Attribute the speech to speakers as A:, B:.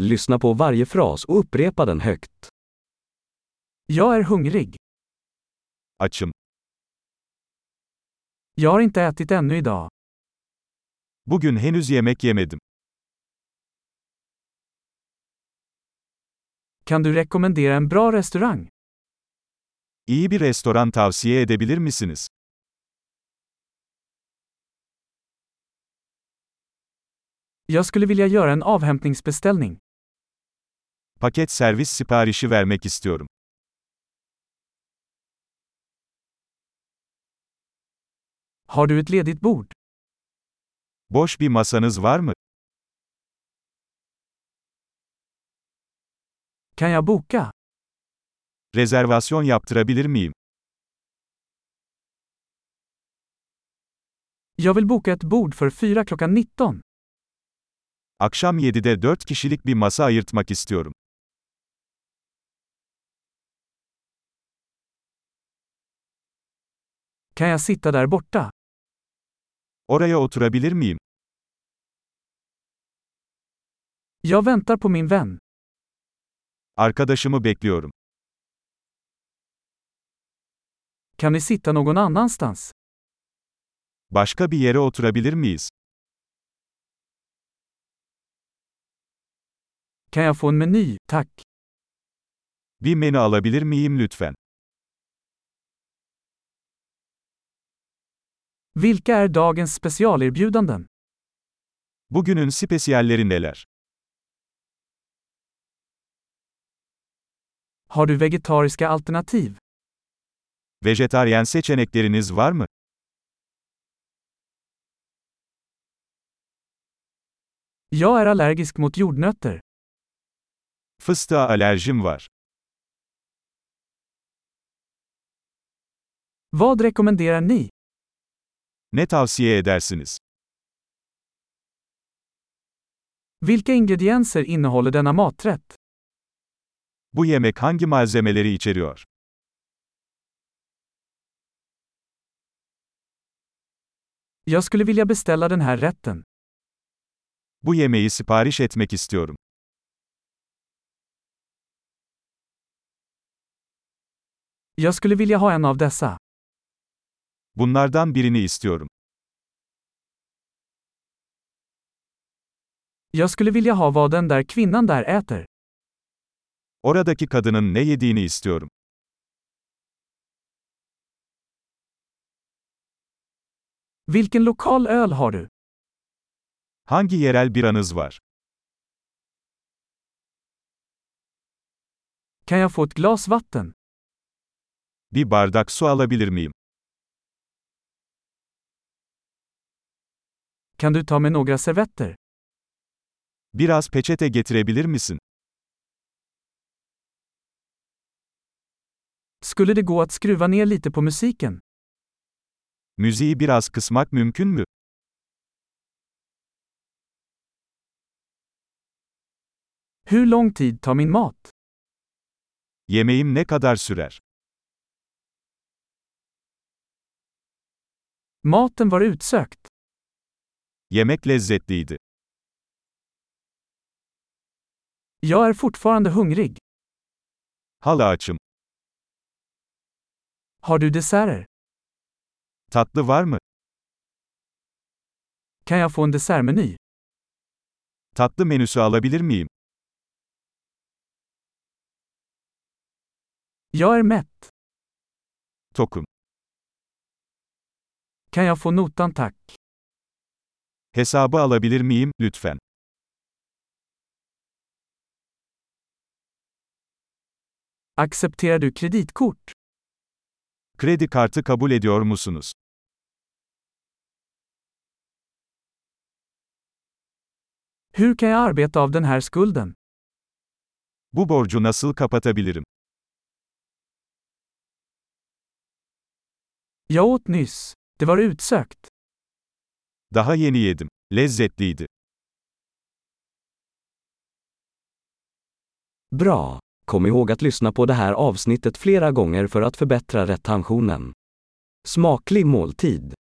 A: Lyssna på varje fras och upprepa den högt. Jag är hungrig.
B: Açım.
A: Jag har inte ätit ännu idag.
B: Bugün henüz yemek yemedim.
A: Kan du rekommendera en bra restaurang?
B: İyi bir restoran tavsiye edebilir misiniz?
A: Jag skulle vilja göra en avhämtningsbeställning.
B: Paket servis siparişi vermek istiyorum.
A: Har du ett ledigt bord?
B: Boş bir masanız var mı?
A: Kan jag boka?
B: Rezervasyon yaptırabilir miyim?
A: Jag vill boka ett bord för fyra klockan 19.
B: Akşam 7'de 4 kişilik bir masa ayırtmak istiyorum.
A: Kan jag sitta där borta?
B: Oraya oturabilir miyim?
A: Jag väntar på min vän.
B: Arkadaşımı bekliyorum.
A: Kan vi sitta någon annanstans?
B: Başka bir yere oturabilir miyiz?
A: Kan jag få en meny, tack?
B: Bir menü alabilir miyim lütfen?
A: Vilka är dagens specialerbjudanden?
B: Bugünün spesiyalleri neler?
A: Har du vegetariska alternativ?
B: Vejetaryen seçenekleriniz var mı?
A: Jag är allergisk mot jordnötter.
B: Fıstığa alerjim var.
A: Vad rekommenderar ni?
B: Ne tavsiye edersiniz?
A: Vilka ingredienser innehåller denna maträtt?
B: Bu yemek hangi malzemeleri içeriyor?
A: Jag skulle vilja beställa den här rätten.
B: Bu yemeği sipariş etmek istiyorum.
A: Jag skulle vilja ha en av dessa.
B: Bunlardan birini istiyorum.
A: Jag skulle vilja ha vad den där kvinnan där äter.
B: Oradaki kadının ne yediğini istiyorum.
A: Vilken lokal öl har du?
B: Hangi yerel biranız var?
A: Kan jag få ett glas vatten?
B: Bir bardak su alabilir miyim?
A: Kan du ta med några servetter?
B: Biraz peçete getirebilir misin?
A: Skulle det gå att skruva ner lite på musiken?
B: Müziği biraz kısmak mümkün mü?
A: Hur lång tid tar min mat?
B: Yemeğim ne kadar sürer?
A: Maten var utsökt.
B: Yemek lezzetliydi.
A: Jag är fortfarande hungrig.
B: Hala açım.
A: Har du desserter?
B: Tatlı var mı?
A: Kan jag få en dessertmeny?
B: Tatlı menüsü alabilir miyim?
A: Jag är mätt.
B: Tokum.
A: Kan jag få notan tack?
B: Hesabı alabilir miyim, lütfen?
A: Accepterar du kreditkort?
B: Kredi kartı kabul ediyor musunuz?
A: Hur kan jag arbeta av den här skulden?
B: Bu borcu nasıl kapatabilirim?
A: Jag åt nyss. Det var utsökt.
B: Daha yeni yedim. Lezzetliydi.
C: Bra! Kom ihåg att lyssna på det här avsnittet flera gånger för att förbättra retentionen. Smaklig måltid!